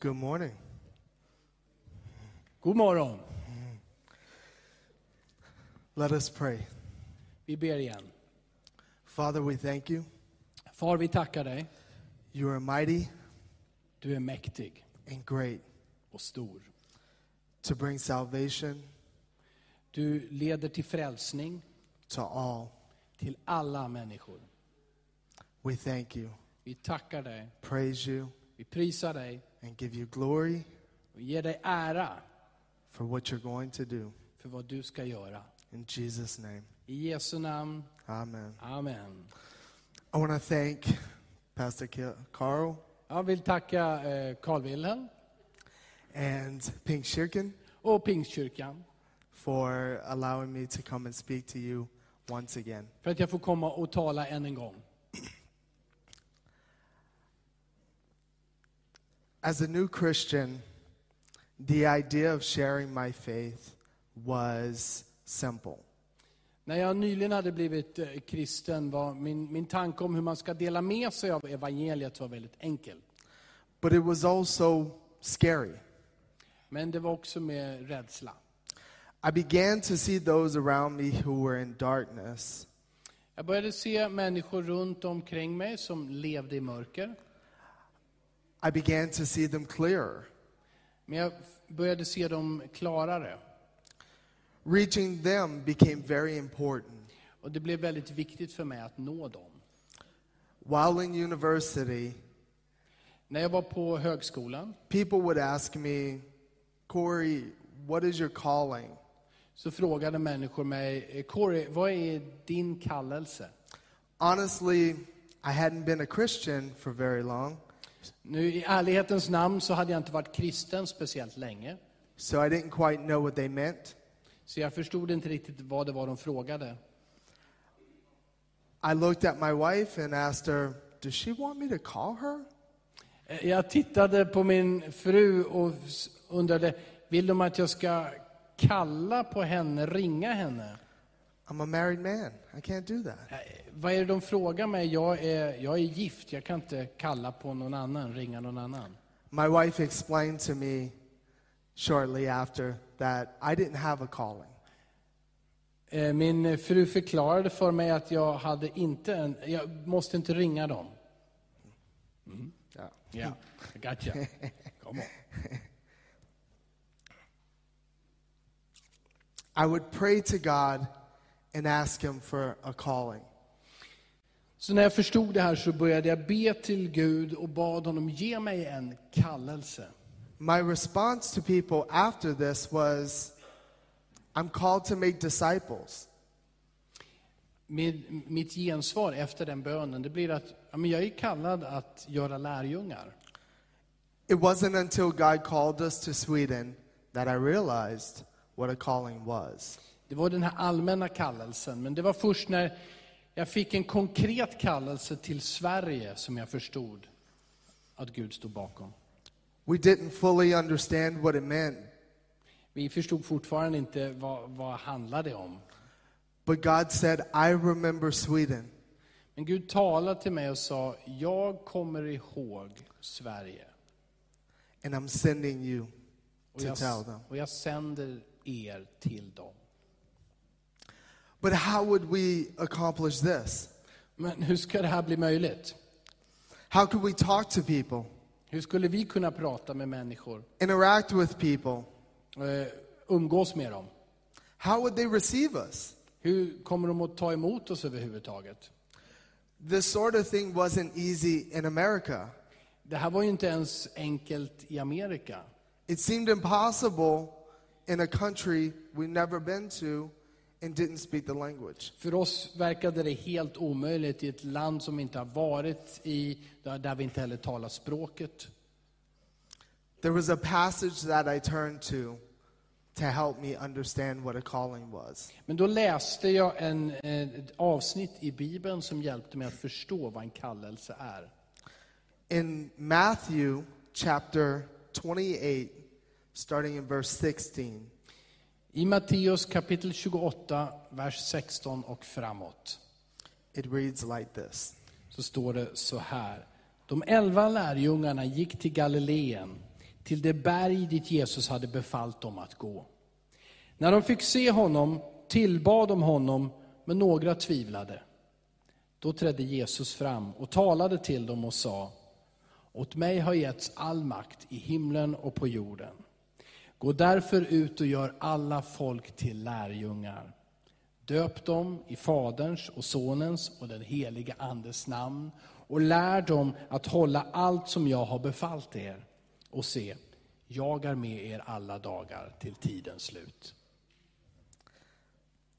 Good morning. God morgon. Let us pray. Vi ber igen. Father, we thank you. Far, vi tackar dig. You are mighty Du är mäktig and great och stor. to bring salvation Du leder till frälsning to all. till alla människor. We thank you, Vi tackar dig, praise you, vi prisar dig and give you glory och ger dig ära for what you're going to do. för vad du ska göra. In Jesus' name, I Jesu namn, amen. Amen. I want to thank Pastor Ki- Carl Jag vill tacka eh, Carl Wilhelm and Pink Shirkin och Pingstkyrkan for allowing me to come and speak to you once again. för att jag får komma och tala än en gång. As a new Christian, the idea of sharing my faith was simple. När jag nyligen hade blivit eh, kristen var min, min tanke om hur man ska dela med sig av evangeliet var väldigt enkel. But it was also scary. Men det var också med rädsla. I began to see those around me who were in darkness. Jag började se människor runt omkring mig som levde i mörker. I began to see them clearer, Men jag f- började se dem klarare. reaching them became very important. Och det blev väldigt viktigt för mig att nå dem. While in university, När jag var på högskolan people would ask me, Corey, what is your calling? så frågade människor mig, "Eh, Corey, vad är din kallelse? Honestly, I hadn't been a Christian for very long, Nu i ärlighetens namn så hade jag inte varit kristen speciellt länge. so I didn't quite know what they meant. Så jag förstod inte riktigt vad det var de frågade. I looked at my wife and asked her, Does she want me to call her? Eh, Jag tittade på min fru och s- undrade, vill de att jag ska kalla på henne, ringa henne? I'm a married man. I can't do that. Eh, Vad är det de frågar mig? Jag är, jag är gift, jag kan inte kalla på någon annan, ringa någon annan. My wife explained to me shortly after that I didn't have a calling. Eh, Min fru förklarade för mig att jag hade inte en, jag måste inte ringa dem. Yeah. Ja, gotcha. Come on. I would pray to God and ask Him for a calling. Så när jag förstod det här så började jag be till Gud och bad honom ge mig en kallelse. My response to people after this was I'm called to make disciples. Min, mitt gensvar efter den bönen, det blir att ja, men jag är kallad att göra lärjungar. It wasn't until God called us to Sweden that I realized what a calling was. Det var den här allmänna kallelsen, men det var först när jag fick en konkret kallelse till Sverige som jag förstod att Gud stod bakom. We didn't fully understand what it meant, Vi förstod fortfarande inte vad, vad handlade det om. but God said, I remember Sweden. Men Gud talade till mig och sa, jag kommer ihåg Sverige. and I'm sending you Och to jag, tell them. och jag sänder er till dem. But how would we accomplish this? Men hur ska det här bli möjligt? How could we talk to people, Hur skulle vi kunna prata med människor? interact with people? eh, Umgås med dem? How would they receive us? Hur kommer de att ta emot oss överhuvudtaget? This sort of thing wasn't easy in America. Det här var ju inte ens enkelt i Amerika. It seemed impossible in a country we've never been to and didn't speak the language. För oss verkade det helt omöjligt i ett land som vi inte har varit i, där där vi inte heller talar språket. There was a passage that I turned to to help me understand what a calling was. Men då läste jag en, eh, ett avsnitt i Bibeln som hjälpte mig att förstå vad en kallelse är. In Matthew chapter 28, starting in verse 16, I Matteus kapitel 28, vers 16 och framåt. it reads like this så står det så här. De elva lärjungarna gick till Galileen, till det berg dit Jesus hade befallt dem att gå. När de fick se honom tillbad de honom, men några tvivlade. Då trädde Jesus fram och talade till dem och sa, åt mig har getts all makt i himlen och på jorden. Gå därför ut och gör alla folk till lärjungar. Döp dem i Faderns och Sonens och den heliga Andes namn och lär dem att hålla allt som jag har befallt er. Och se, jag är med er alla dagar till tidens slut.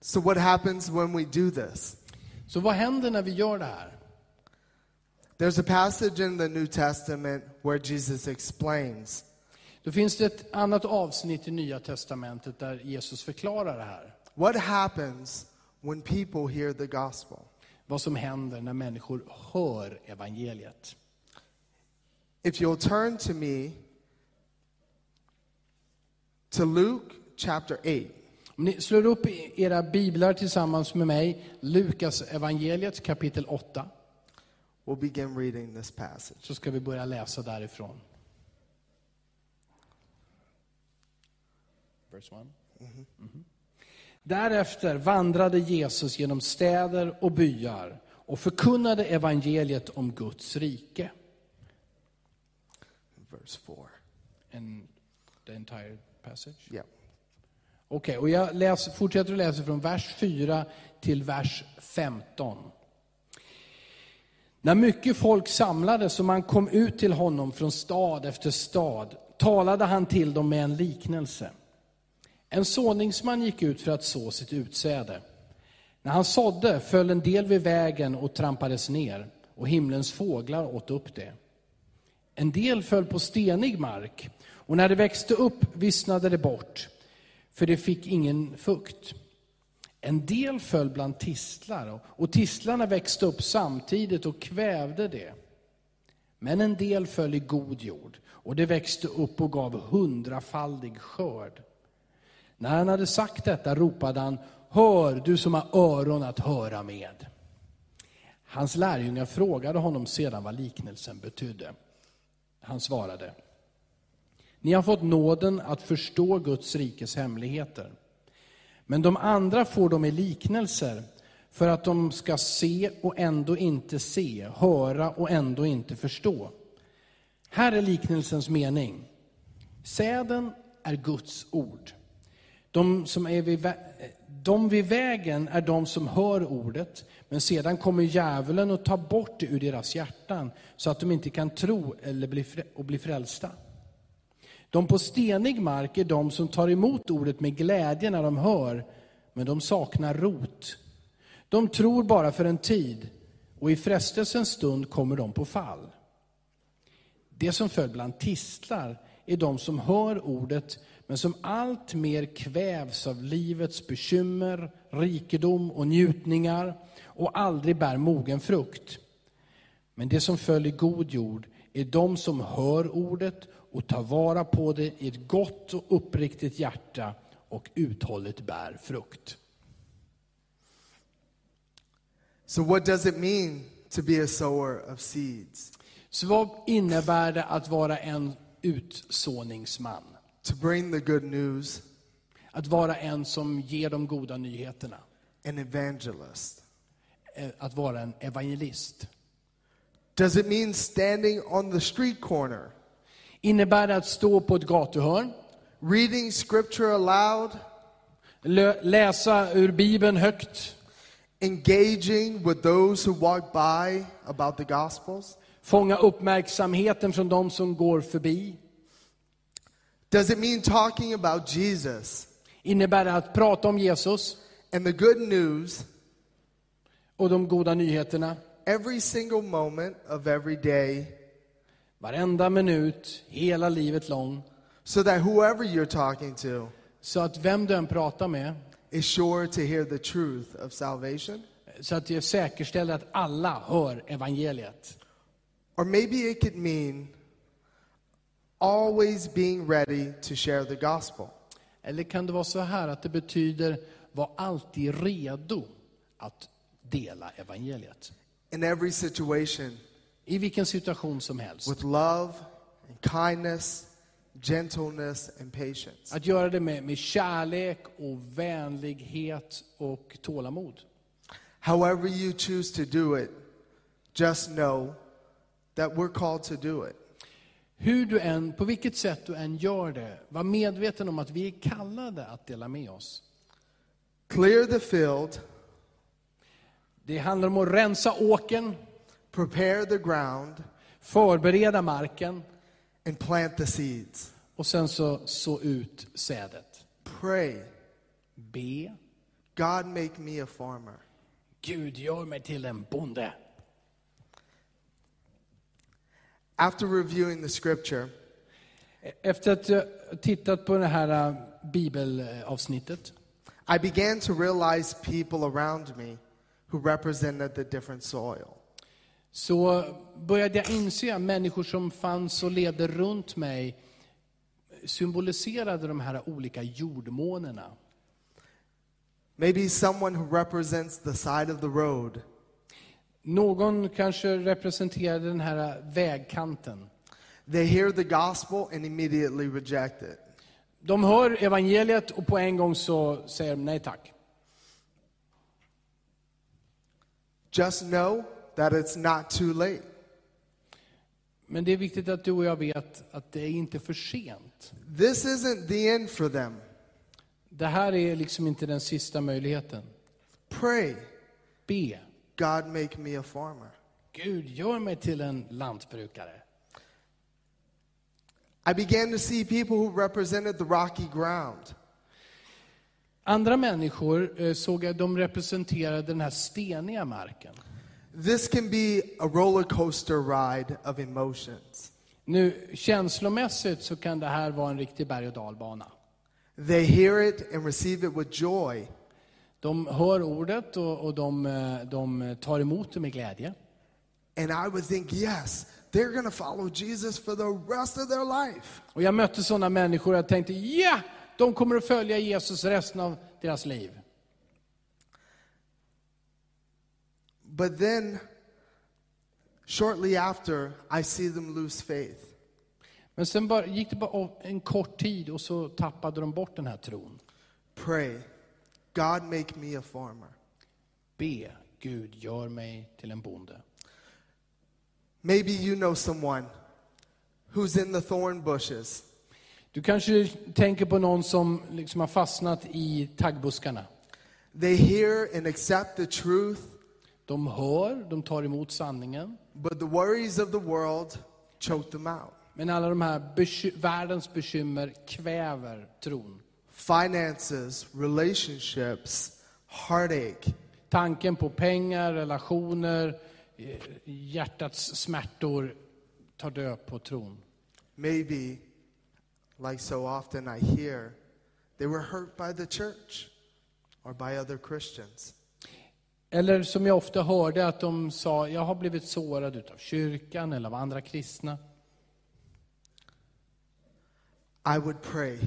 So, what happens when we do this? Så vad händer när vi gör det här? There's a passage in the New Testament where Jesus explains Då finns det ett annat avsnitt i Nya Testamentet där Jesus förklarar det här. what happens when people hear the gospel. Vad som händer när människor hör evangeliet. If you'll turn to me to Luke chapter 8, Om ni slår upp era biblar tillsammans med mig, Lukas evangeliet kapitel 8, we'll begin reading this passage. så ska vi börja läsa därifrån. Verse one. Mhm. Därefter vandrade Jesus genom städer och byar och förkunnade evangeliet om Guds rike. Verse 4. And the entire passage? Yeah. Okej, och jag läser, fortsätter att läsa från vers 4 till vers 15. När mycket folk samlades och man kom ut till honom från stad efter stad talade han till dem med en liknelse. En såningsman gick ut för att så sitt utsäde. När han sådde föll en del vid vägen och trampades ner och himlens fåglar åt upp det. En del föll på stenig mark och när det växte upp vissnade det bort, för det fick ingen fukt. En del föll bland tistlar och- och tistlarna växte upp samtidigt och kvävde det. Men en del föll i god jord och det växte upp och gav hundrafaldig skörd. När han hade sagt detta ropade han, hör du som har öron att höra med. Hans lärjungar frågade honom sedan vad liknelsen betydde. Han svarade, ni har fått nåden att förstå Guds rikes hemligheter. Men de andra får de i liknelser för att de ska se och ändå inte se, höra och ändå inte förstå. Här är liknelsens mening. Säden är Guds ord. De, som är vid, vä- de vid vägen är de som hör ordet, men sedan kommer djävulen och tar bort det ur deras hjärtan så att de inte kan tro eller bli, frä- och bli frälsta. De på stenig mark är de som tar emot ordet med glädje när de hör, men de saknar rot. De tror bara för en tid, och i frestelsens stund kommer de på fall. Det som föll bland tistlar är de som hör ordet men som allt mer kvävs av livets bekymmer, rikedom och njutningar och aldrig bär mogen frukt. Men det som föll i god jord är de som hör ordet och tar vara på det i ett gott och uppriktigt hjärta och uthålligt bär frukt. So, what does it mean to be a sower of seeds? Så vad innebär det att vara en utsåningsman? To bring the good news, Att vara en som ger de goda nyheterna? an evangelist. eh, att vara en evangelist? Does it mean standing on the street corner, Innebär det att stå på ett gatuhörn, reading scripture aloud, lö- läsa ur Bibeln högt, engaging with those who walk by about the gospels? fånga uppmärksamheten från de som går förbi? Does it mean talking about Jesus Innebär det att prata om Jesus and the good news och de goda nyheterna every single moment of every day varenda minut, hela livet lång? so that whoever you're talking to Så att vem du än pratar med, is sure to hear the truth of salvation? så att det säkerställer att alla hör evangeliet. Or maybe it could mean always being ready to share the gospel. Eller kan det vara så här att det betyder, var alltid redo att dela evangeliet. in every situation I vilken situation som helst. with love and kindness gentleness, and patience. Att göra det med, med kärlek och vänlighet och tålamod. However, you choose to do it, just know that we're called to do it. Hur du än, på vilket sätt du än gör det, var medveten om att vi är kallade att dela med oss. Clear the field, Det handlar om att rensa åkern, prepare the ground, förbereda marken and plant the seeds. och sen så så ut sädet. Pray, Be, God, make me a farmer. Gud gör mig till en bonde. After reviewing the scripture, E-, Efter att jag tittat på det här äh, bibelavsnittet I began to realize people around me who represented the different soil. så började jag inse att människor som fanns och levde runt mig symboliserade de här olika jordmånerna. Maybe someone who represents the side of the road, Någon kanske representerade den här vägkanten. they hear the gospel and immediately reject it. De hör evangeliet och på en gång så säger de nej tack. Just know that it's not too late. Men det är viktigt att du och jag vet att det är inte för sent. This isn't the end for them. Det här är liksom inte den sista möjligheten. Pray, Be. God, make me a farmer. Gud, gör mig till en lantbrukare. I began to see people who represented the rocky ground. Andra människor eh, såg jag, de representerade den här steniga marken. This can be a roller coaster ride of emotions. Nu, känslomässigt så kan det här vara en riktig berg och dalbana. They hear it and receive it with joy, De hör ordet och, och de, eh, de tar emot det med glädje. and I would think, yes, they're going to follow Jesus for the rest of their life. Och jag mötte sådana människor och jag tänkte, ja! de kommer att följa Jesus resten av deras liv. But then, shortly after, I see them lose faith. Men sen bara, gick det bara av en kort tid och så tappade de bort den här tron. Pray, God, make me a farmer. Be, Gud gör mig till en bonde. Maybe you know someone who's in the thorn bushes. Du kanske tänker på någon som liksom har fastnat i taggbuskarna. They hear and accept the truth, De hör, de tar emot sanningen. but the worries of the world choke them out. Men alla de här beky- världens bekymmer kväver tron. Finances, relationships, heartache. Tanken på pengar, relationer, eh, hjärtats smärtor tar död på tron. Maybe, like so often I hear, they were hurt by the church or by other Christians. Eller som jag ofta hörde att de sa, jag har blivit sårad utav kyrkan eller av andra kristna. I would pray,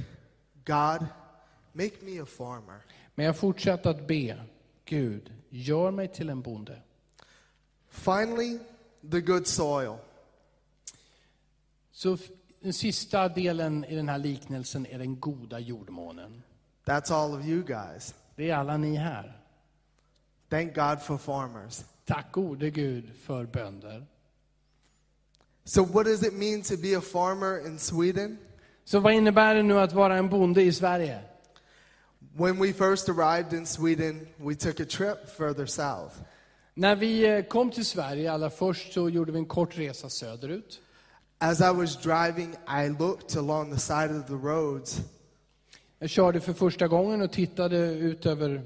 God, make me a farmer. Men jag fortsatte att be, Gud, gör mig till en bonde. Finally, the good soil. Så f- den sista delen i den här liknelsen är den goda jordmånen. That's all of you guys. Det är alla ni här. Thank God for farmers. Tack gode Gud för bönder. So, what does it mean to be a farmer in Sweden? Så vad innebär det nu att vara en bonde i Sverige? When we first arrived in Sweden, we took a trip further south. När vi eh, kom till Sverige allra först så gjorde vi en kort resa söderut. As I was driving, I looked along the side of the roads Jag körde för första gången och tittade ut över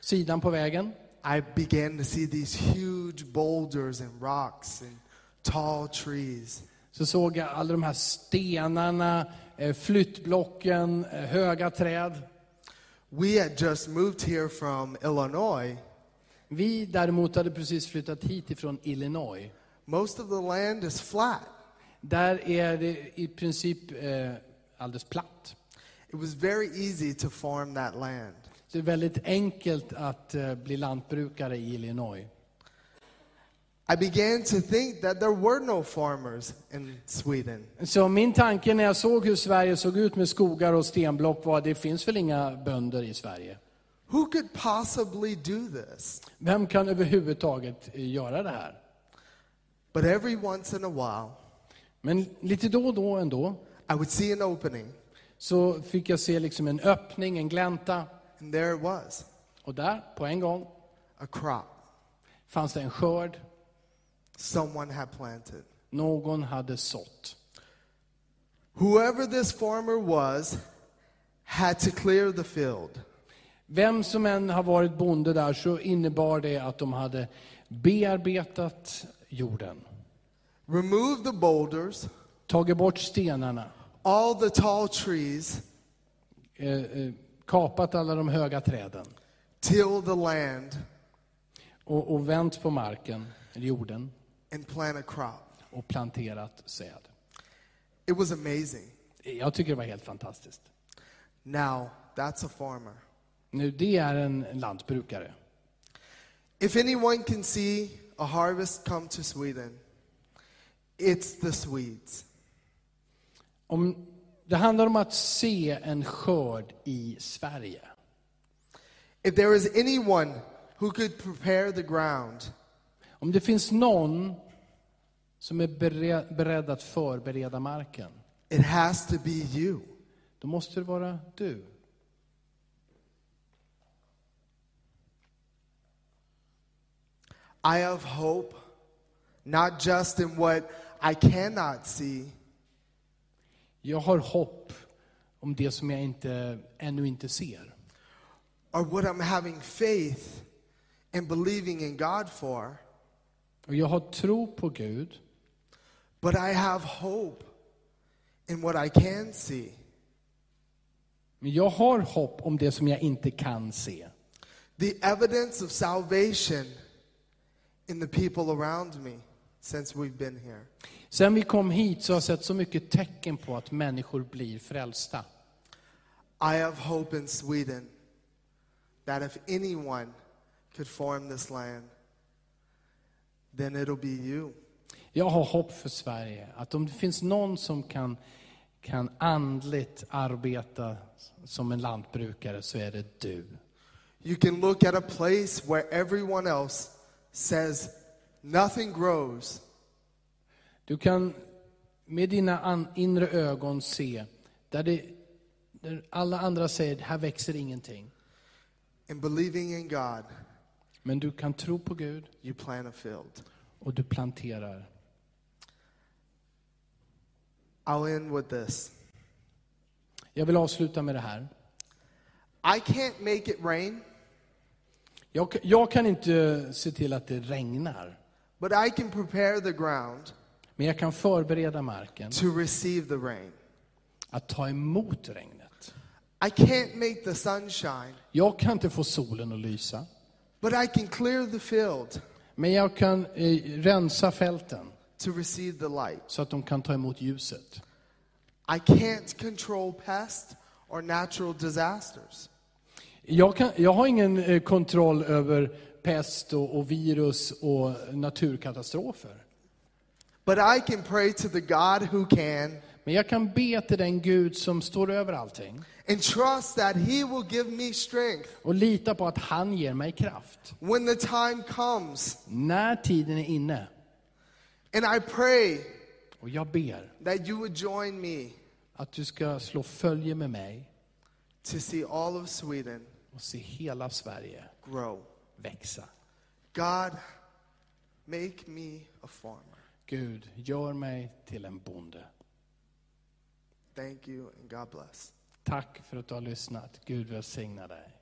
sidan på vägen. I began to see these huge boulders and rocks and tall trees. Så såg jag alla de här stenarna, eh, flyttblocken, eh, höga träd. We had just moved here from Illinois. Vi däremot hade precis flyttat hit ifrån Illinois. Most of the land is flat. Där är det i princip eh, alldeles platt. It was very easy to farm that land. Så det är väldigt enkelt att eh, bli lantbrukare i Illinois. I began to think that there were no farmers in Sweden. Så min tanke när jag såg hur Sverige såg ut med skogar och stenblock var det finns väl inga bönder i Sverige. Who could possibly do this? Vem kan överhuvudtaget eh, göra det här? But every once in a while, Men lite då och då ändå I would see an opening, så fick jag se liksom en öppning, en glänta. and there it was Och där, på en gång, a crop fanns det en skörd. someone had planted. Någon hade sått. Whoever this farmer was had to clear the field. Vem som än har varit bonde där så innebar det att de hade bearbetat jorden. Remove the boulders, Tagit bort stenarna. all the tall trees, Eh, eh, kapat alla de höga träden. till the land, Och, och vänt på marken, eller jorden, and plant a crop. och planterat säd. It was amazing. Jag tycker det var helt fantastiskt. Now, that's a farmer. Nu, det är en en lantbrukare. If anyone can see a harvest come to Sweden, it's the Swedes. Om, det handlar om att se en skörd i Sverige. If there is anyone who could prepare the ground, Om det finns någon som är bere- beredd att förbereda marken, it has to be you. då måste det vara du. I have hope, not just in what I cannot see, Jag har hopp om det som jag inte, ännu inte ser. or what I'm having faith and believing in God for, Och jag har tro på Gud, but I have hope in what I can see. men jag har hopp om det som jag inte kan se. The evidence of salvation in the people around me since we've been here. Sen vi kom hit så har jag sett så mycket tecken på att människor blir frälsta. I have hope in Sweden that if anyone could form this land, then it'll be you. Jag har hopp för Sverige, att om det finns någon som kan, kan andligt arbeta som en lantbrukare så är det du. You can look at a place where everyone else says nothing grows, Du kan med dina an, inre ögon se där, det, där alla andra säger här växer ingenting. and believing in God, Men du kan tro på Gud you plant a field. och du planterar. I'll end with this Jag vill avsluta med det här. I can't make it rain, Jag, k- jag kan inte se till att det regnar, but I can prepare the ground men jag kan förbereda marken to receive the rain. att ta emot regnet. I can't make the sunshine, Jag kan inte få solen att lysa. but I can clear the field Men jag kan eh, rensa fälten to receive the light. så att de kan ta emot ljuset. I can't control pests or natural disasters, Jag, kan, jag har ingen eh, kontroll över pest och, och virus och naturkatastrofer. but I can pray to the God who can Men jag kan be till den Gud som står över allting and trust that He will give me strength och lita på att han ger mig kraft. when the time comes. När tiden är inne, And I pray och jag ber that you would join me att du ska slå följe med mig to see all of Sweden och se hela Sverige grow. växa. God, make me a farmer. Gud, gör mig till en bonde. Thank you and God bless. Tack för att du har lyssnat. Gud välsigna dig.